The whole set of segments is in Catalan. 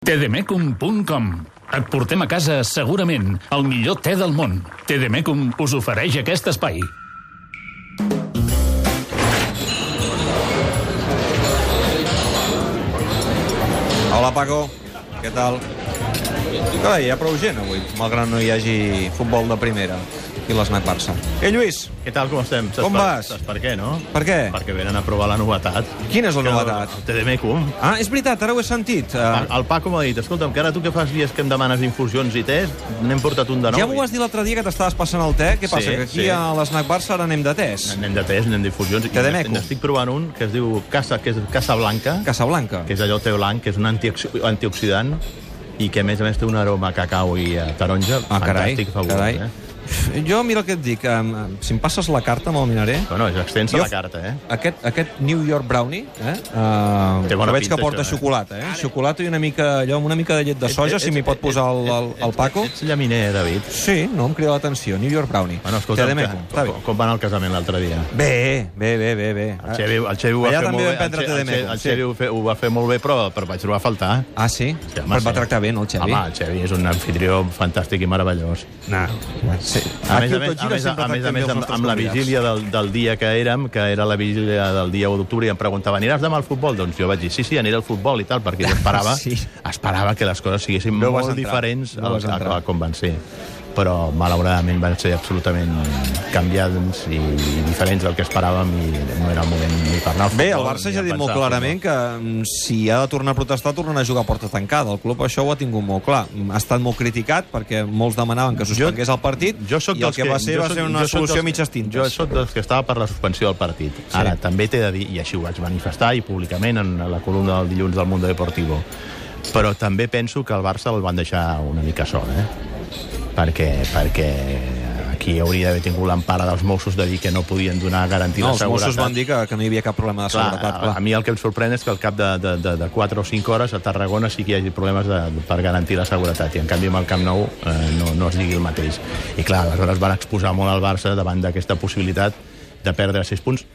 E tdmecum.com Et portem a casa segurament el millor te del món. Tdmecum us ofereix aquest espai. Hola, Paco. Què tal? Carai, hi ha prou gent avui, malgrat no hi hagi futbol de primera i l'esnat Barça. Ei, Lluís, Què tal, com estem? Saps Com per, vas? Saps per què, no? Per què? Perquè venen a provar la novetat. Quina és la Que novetat? El TDMQ. Ah, és veritat, ara ho he sentit. El, Uh, el Paco m'ha dit, escolta'm, que ara tu que fas dies que em demanes infusions i tes, n'hem portat un de nou. ja m'ho vas dir l'altre dia que t'estaves passant el te. Què Sí, passa, que aquí sí. a l'esnac Barça ara anem de tes? Anem de tes, anem d'infusions. i Tedemeco. n'estic- N'estic provant un que es diu Casa, que és Casa Blanca, Casablanca. que és allò té blanc, que és un antioxi- antioxidant i que, a més a més, té un aroma a cacau i a taronja Ah, carai, fantàstic, fabulós. carai. Eh? Jo, mira el que et dic, em, em, si em passes la carta me'l miraré. Bueno, és extensa Jo- la carta, eh? Aquest, aquest New York Brownie, eh? Uh, Té bona veig pinta, que porta això, eh? xocolata, eh? Xocolata i una mica, allò, amb una mica de llet de soja, Ets- si m'hi pot ets- posar el, el, ets- el Paco. Ets llaminer, David. Sí, no em crida l'atenció. New York Brownie. Bueno, escolta, Té de meco, està bé. com, com va anar el casament l'altre dia? Bé, bé, bé, bé, bé. El Xevi, el Xevi ho va Eh, Allà fer també molt bé. vam prendre té el Xe- de el Xe- meco. El sí. Xevi ho, fe, ho va fer molt bé, però, però vaig trobar a faltar. Ah, sí? Sí, home, Però et va sí. tractar bé, no, el Xevi? Home, el Xevi és un anfitrió fantàstic i meravellós. No. Sí. A més Aquí a el més, Tot a Gira més, sempre a més, tracta bé a més els amb, nostres amb la convidats. vigília del, del dia que érem, que era la vigília del dia 1 d'octubre, i em preguntava, aniràs demà al futbol? Doncs jo vaig dir, sí, sí, aniré al futbol i tal, perquè jo esperava, Sí. esperava que les coses siguessin No vas molt entrar. diferents No al- vas a, entrar. a, com van ser. Però, malauradament, van ser absolutament canviants i, i diferents del que esperàvem i no era el moment ni per anar al futbol. Bé, el Barça ni ja ha a dit molt pensar al clarament que mm, si ha de tornar a protestar, tornarà a jugar a porta tancada. El club això ho ha tingut molt clar. Mm, Ha estat molt criticat perquè molts demanaven que suspengués el partit Jo sóc i el dels que, va ser jo va sóc- ser jo una sóc solució a dels- mitges tintes. Jo sóc dels que estava per la suspensió del partit. Sí. Ara, també t'he de dir, i així ho vaig manifestar i públicament en la columna del dilluns del Mundo Deportivo, però també penso que el Barça el van deixar una mica sol, eh? Perquè, perquè aquí hauria d'haver tingut l'empara dels Mossos de dir que no podien donar garantir No, la els seguretat. Mossos van dir que, que no hi havia cap problema de Clar, seguretat. a, a mi el que em sorprèn és que al cap de, de, de, de 4 o 5 hores a Tarragona sí que hi hagi problemes de, per garantir la seguretat i en canvi amb el Camp Nou eh, no, no es digui el mateix i clar, aleshores van exposar molt al Barça davant d'aquesta possibilitat de perdre 6 punts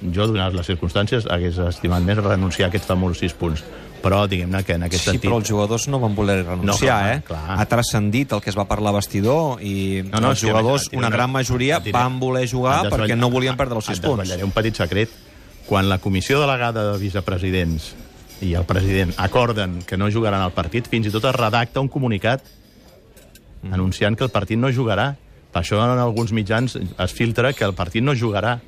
jo, donades les circumstàncies, hagués estimat més renunciar a aquests famosos 6 punts però diguem-ne que en aquest Sí, sentit però els jugadors no van voler renunciar, No, eh? clar. Ha transcendit el que es va parlar a vestidor i No, no, els és que jugadors, et diré una una- gran majoria, et diré- van voler jugar et perquè desvetllaré- no volien perdre els et 6 punts. desvetllaré un petit secret. Quan la comissió delegada de vicepresidents i el president acorden que no jugaran al partit, fins i tot es redacta un comunicat Mm. anunciant que el partit no jugarà. Per això en alguns mitjans es filtra que el partit no jugarà.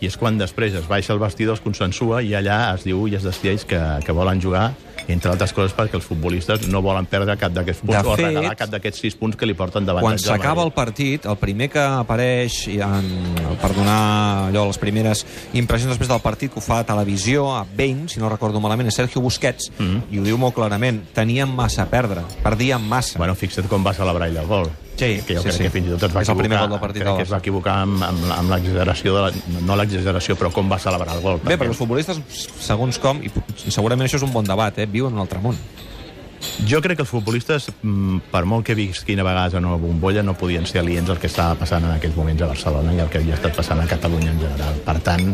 I és quan després es baixa el vestidor, es consensua i allà es diu i es decideix que, que volen jugar, entre altres coses perquè els futbolistes no volen perdre cap d'aquests punts De o fet, regalar cap d'aquests sis punts que li porten davant. Quan s'acaba el partit, el primer que apareix i en, per donar allò, les primeres impressions després del partit que ho fa a televisió, a Bain, si no recordo malament, a Sergio Busquets, Mm. i ho diu molt clarament, tenien massa a perdre, perdien massa. Bueno, fixa't com va celebrar ell el gol. Sí, que jo sí, crec sí. que fins i tot es va És el primer equivocar, gol del partit crec del que es va equivocar amb, amb, amb l'exageració, de la, no l'exageració, però com va celebrar el gol. Bé, perquè els futbolistes, segons com, i segurament això és un bon debat, eh, viuen en un altre món. Jo crec que els futbolistes, mm, per molt que visquin a vegades en una bombolla, no podien ser aliens al que estava passant en aquells moments a Barcelona i el que havia estat passant a Catalunya en general. Per tant,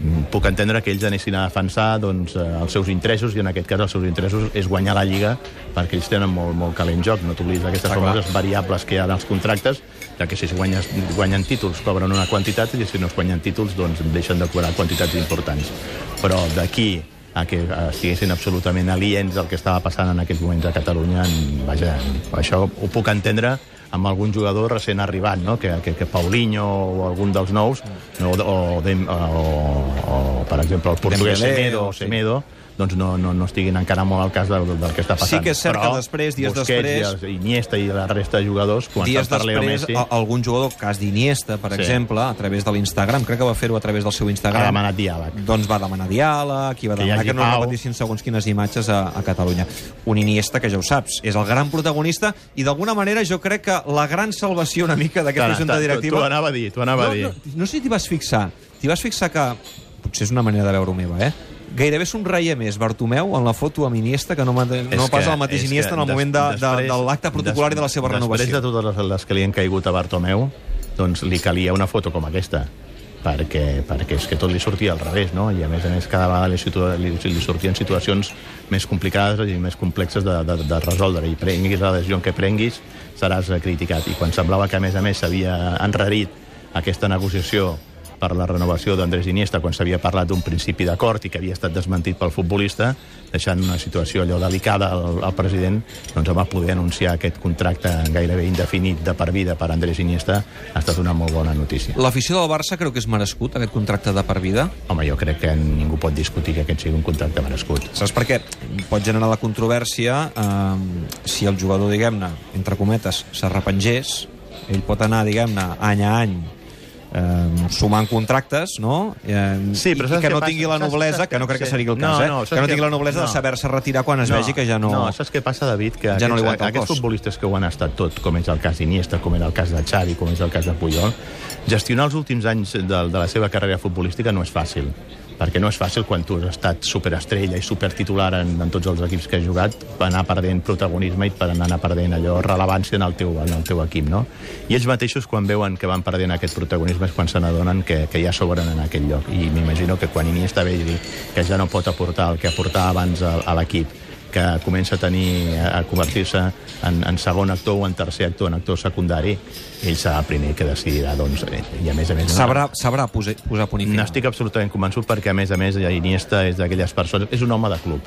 mm, puc entendre que ells anessin a defensar doncs, eh, els seus interessos, i en aquest cas els seus interessos és guanyar la Lliga, perquè ells tenen molt, molt calent joc. No t'oblidis d'aquestes Ah, clar. famoses variables que hi ha en els contractes, ja que si es guanyes, guanyen títols cobren una quantitat i si no es guanyen títols doncs deixen de cobrar quantitats importants. Però d'aquí a que eh, estiguessin absolutament aliens al que estava passant en aquests moments a Catalunya, en- vaja, això ho puc entendre amb algun jugador recent arribat, no? que, que, que Paulinho o algun dels nous, no? o, Dem- o, o, per exemple el portuguès Dembélé, Semedo, o o sí. Semedo doncs no, no, no estiguin encara molt al cas del, del que està Sí passant. que és cert Però que després, dies Busquets després, i els- Iniesta i la resta de jugadors, Dies començant per Leo després, Messi, a- algun jugador, cas d'Iniesta, per Sí. exemple, a través de l'Instagram, crec que va fer-ho a través del seu Instagram, ha demanat diàleg. doncs va demanar diàleg i va Que hi demanar hagi que no pau. repetissin segons quines imatges a, a Catalunya. Un Iniesta que ja ho saps, és el gran protagonista i d'alguna manera jo crec que la gran salvació una mica d'aquesta Tant, junta tant, directiva... T'ho anava a dir, t'ho anava no, a dir. no, no sé si t'hi vas fixar. T'hi vas fixar que... Potser és una manera de veure-ho meva, eh? Gairebé somreia més Bartomeu en la foto amb Iniesta que no, mate- És no pas que- el mateix és que Iniesta en el des- moment de, de, després- de l'acte protocolar i de la seva des- renovació. Després de totes les, les que li han caigut a Bartomeu, doncs li calia una foto com aquesta perquè, perquè és que tot li sortia al revés, no? I a més a més cada vegada li, situa, li, li sortien situacions més complicades i més complexes de, de, de resoldre. I prenguis la decisió que prenguis, seràs eh, criticat. I quan semblava que a més a més s'havia enrarit aquesta negociació per la renovació d'Andrés Iniesta quan s'havia parlat d'un principi d'acord i que havia estat desmentit pel futbolista, deixant una situació allò delicada al, al president, doncs home, poder anunciar aquest contracte gairebé indefinit de per vida per Andrés Iniesta ha estat una molt bona notícia. L'afició del Barça creu que és merescut, aquest contracte de per vida? Home, jo crec que ningú pot discutir que aquest sigui un contracte merescut. Saps per què? Pot generar la controvèrsia eh, si el jugador, diguem-ne, entre cometes, s'arrepengés, ell pot anar, diguem-ne, any a any eh, sumant contractes, no? Eh, Sí, però i- saps i que què no passa? tingui la Saps- noblesa, saps- que no crec que sí. seria el No, cas, eh? no, saps que no què- tingui la noblesa de no. saber-se retirar quan es vegi que ja no... No, saps què passa, David? Que Ja no li aguanta el aquests cos. futbolistes que ho han estat tot, com és el cas d'Iniesta, com era el cas de Xavi, com és el cas de Puyol, gestionar els últims anys de, de la seva carrera futbolística no és fàcil perquè no és fàcil quan tu has estat superestrella i supertitular en, en tots els equips que has jugat per anar perdent protagonisme i per anar perdent allò rellevància en el teu, en el teu equip, no? I ells mateixos quan veuen que van perdent aquest protagonisme és quan se n'adonen que, que ja sobren en aquell lloc i m'imagino que quan Iniesta ve i dir que ja no pot aportar el que aportava abans a, a l'equip que comença a tenir a convertir-se en, en segon actor o en tercer actor, en actor secundari, ell serà el primer que decidirà, doncs, eh, i a més a més... no- Sabrà, sabrà posar, posar punt i final. N'estic absolutament convençut perquè, a més a més, Iniesta és d'aquelles persones... És un home de club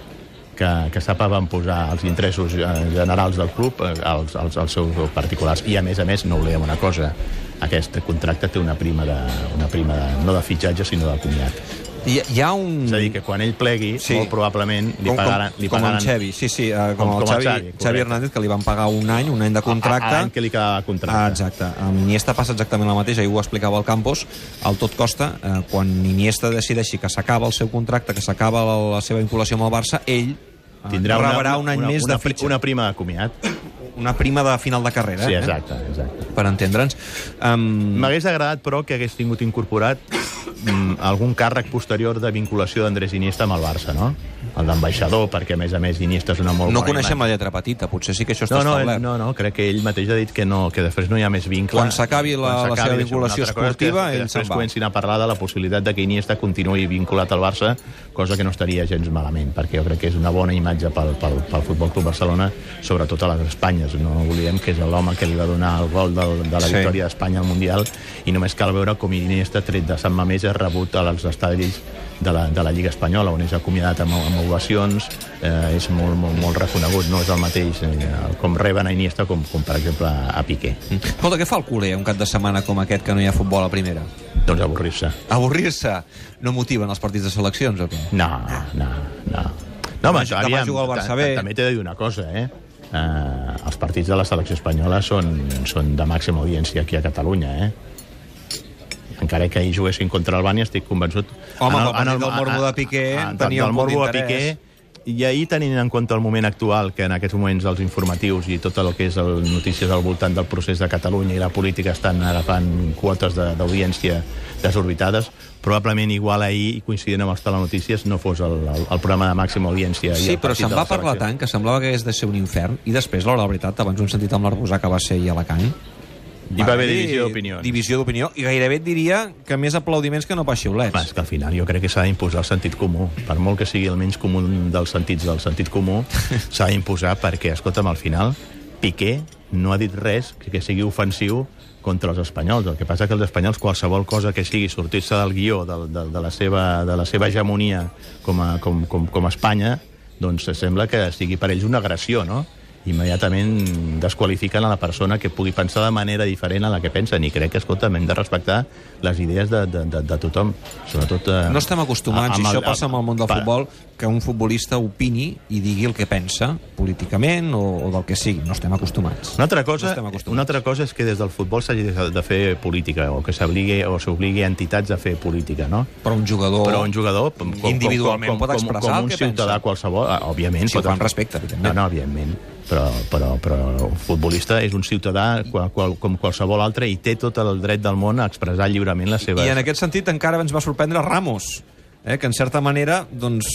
que, que sap posar els interessos eh, generals del club eh, als, als, als seus particulars. I, a més a més, no oblidem una cosa. Aquest contracte té una prima, de, una prima de, no de fitxatge, sinó de comiat. Hi, hi ha un... És a dir, que quan ell plegui, Sí. sí. molt probablement li pagaran... li com pagaran el Xavi, sí, sí, eh, com, Com- el com el Xavi, Xavi, Xavi, correcte. Hernández, que li van pagar un any, un any de contracte. a- a l'any que li quedava de contracte. Ah, exacte. Amb Iniesta passa exactament el mateix, ahir ho explicava el Campos, el tot costa, eh, quan Iniesta decideixi que s'acaba el seu contracte, que s'acaba la, la seva vinculació amb el Barça, ell eh, tindrà una, rebrà un any una, més una, de fitxa. Una prima de comiat. una prima de final de carrera, Sí, eh? exacte, exacte. per entendre'ns. Um, M'hagués agradat, però, que hagués tingut incorporat mm, algun càrrec posterior de vinculació d'Andrés Iniesta amb el Barça, no? El d'ambaixador, perquè, a més a més, Iniesta és una molt no bona coneixem imatge. la lletra petita, potser sí que això està No, no, establert. no, no, crec que ell mateix ha dit que no, que després no hi ha més vincle. Quan s'acabi la- Quan la s'acabi, seva això és una vinculació altra cosa, que esportiva, després- que ell se'n després va. comencin a parlar de la possibilitat de que Iniesta continuï vinculat al Barça, cosa que no estaria gens malament, perquè jo crec que és una bona imatge pel, pel, pel Futbol Club Barcelona, sobretot a les Espanyes. No oblidem que és l'home que li va donar el gol del, de la Sí. victòria d'Espanya al Mundial i només cal veure com Iniesta, tret de Sant Mamés, és rebut als estadis de la, de la Lliga Espanyola, on és acomiadat amb, amb ovacions, eh, és molt, molt, molt reconegut, no és el mateix eh, com reben a Iniesta com, com per exemple, a Piqué. Escolta, què fa el culer un cap de setmana com aquest que no hi ha futbol a primera? Doncs avorrir-se. Avorrir-se? No motiven els partits de seleccions o què? No, no, no. No, home, Demà- demà juga el Barça ta- ta- bé. També t'he de dir una cosa, eh? Eh, els partits de la selecció espanyola són, són de màxima audiència aquí a Catalunya, eh? Encara que ahir juguessin contra Albània, estic convençut... Home, pel partit del morbo de Piqué, tenia el un punt morbo de d'interès. Piqué, I ahir, tenint en compte el moment actual, que en aquests moments els informatius i tot el que és el, notícies al voltant del procés de Catalunya i la política estan agafant quotes de- d'audiència de, desorbitades, probablement igual ahir, i coincident amb els telenotícies, no fos el, el, el programa de màxima audiència. i Sí, el però partit se'n de va la parlar selecció. tant que semblava que hagués de ser un infern i després, l'hora de la veritat, abans ho hem sentit amb l'Arbusà que va ser ahir a Alacant Hi va haver dir- divisió d'opinions. Divisió d'opinió, i gairebé et diria que més aplaudiments que no pas Clar, xiulets. és que al final jo crec que s'ha d'imposar el sentit comú. Per molt que sigui el menys comú dels sentits del sentit comú, s'ha d'imposar perquè, escolta'm, al final, Piqué no ha dit res que sigui ofensiu contra els espanyols. El que passa que els espanyols qualsevol cosa que sigui sortir-se del guió de, de, de, la, seva, de la seva hegemonia com a, com, com, com a Espanya, doncs sembla que sigui per ells una agressió, no? immediatament desqualifiquen a la persona que pugui pensar de manera diferent a la que pensen i crec que, escolta, hem de respectar les idees de, de, de, de tothom sobretot... Eh, No estem acostumats, i això el- passa amb el món del pa- futbol, que un futbolista opini i digui el que pensa, políticament o, o del que sigui. No estem acostumats. Una altra, cosa, estem acostumats. una altra cosa és que des del futbol s'hagi de, de fer política o que s'obligui o s'obligui a entitats a fer política, no? Però un jugador... Però un jugador... Com, com, Individualment com, com, pot com, expressar com el un que ciutadà pensa. qualsevol, ah, òbviament... Si ho pot- fa amb respecte, evidentment. No, no, evidentment. Però, però, però un futbolista és un ciutadà qual, qual, com qualsevol altre i té tot el dret del món a expressar lliurement les seves... I en aquest sentit encara ens va sorprendre Ramos. Eh, eh, que en certa manera, doncs,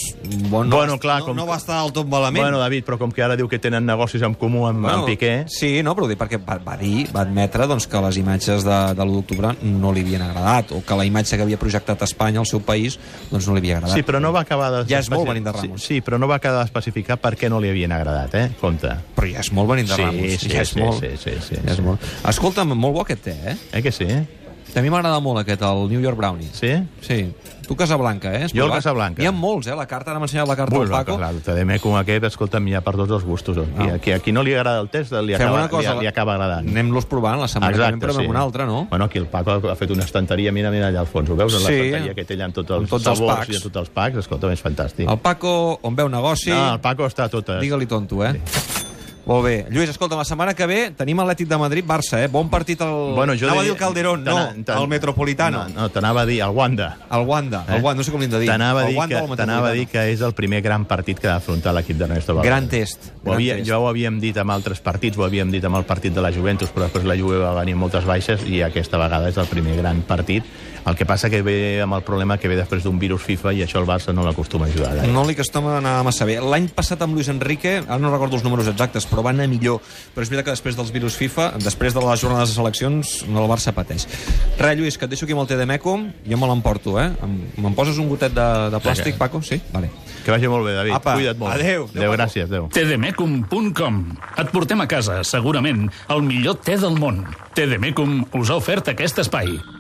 bueno, no, Bueno, va- clar, no, com no que- va estar del tot malament. Bueno, David, però com que ara diu que tenen negocis en comú amb, bueno, amb Piqué... Sí, no, però ho dic perquè va, va dir, va admetre doncs, que les imatges de, de l'1 d'octubre no li havien agradat, o que la imatge que havia projectat a Espanya, al seu país, doncs no li havia agradat. Sí, però no va acabar de... Ja és molt especi- venint de Ramos. Sí, sí, però no va acabar d'especificar per què no li havien agradat, eh? Compte. Però ja és molt venint de Sí, Ramos. sí, ja és sí, molt, sí, sí, sí, ja és sí. molt. Escolta'm, molt bo aquest té, eh? Eh que sí? A mi m'agrada molt aquest, el New York Brownie. Sí? Sí. Tu Casablanca, eh? Has Jo el provat? Casablanca. N'hi ha molts, eh? La carta, ara m'ha ensenyat la carta Bueno, del Paco. Ah. clar, el Tademeco aquest, escolta'm, hi ha per tots els gustos. No. I, a, qui, a qui no li agrada el test, li Fem acaba, una cosa. li, li acaba agradant. Anem-los provant la setmana que Exacte, ve, però sí. amb una altra, no? Bueno, aquí el Paco ha fet una estanteria, mira, mira allà al fons, ho veus? En Sí. l'estanteria que té allà amb tots els Amb tots els sabors packs. i amb tots els packs, escolta, és fantàstic. El Paco, on veu negoci... No, el Paco està a totes. Digue-li tonto, eh? Molt bé. Lluís, escolta, la setmana que ve tenim Atlètic de Madrid-Barça, eh? Bon partit al... Anava a dir el Calderón, no, t'ana- t'an- el Metropolitano. No, no t'anava a dir el Wanda. El Wanda, el Wanda, no sé com l'hem de dir. T'anava a El dir, Wanda o que, el t'anava a dir Metropolitano. que és el primer gran partit que ha d'afrontar l'equip d'Ernesto Valverde. Gran test, Ho gran havia, test. ja ho havíem dit amb altres partits, ho havíem dit amb el partit de la Juventus, però després la Juve va venir amb moltes baixes i aquesta vegada és el primer gran partit. El que passa que ve amb el problema que ve després d'un virus FIFA i això el Barça no l'acostuma a ajudar. gaire. No li costava anar massa bé. L'any passat amb Luis Enrique, ara no recordo els números exactes, però va anar millor. Però és veritat que després dels virus FIFA, després de les jornades de seleccions, el Barça pateix. Re, Lluís, que et deixo aquí amb el Tedemeco, jo me l'emporto, eh? Em- Me'n poses un gotet de, de plàstic, Vinga. Paco? Sí? Vale. Que vagi molt bé, David. Mm. Apa, Cuida't molt. adéu. Adéu, Adéu, Paco. gràcies, adéu. E tdmecum.com Et E portem a casa, segurament, el millor te del món. Tdmecum us ha ofert aquest espai.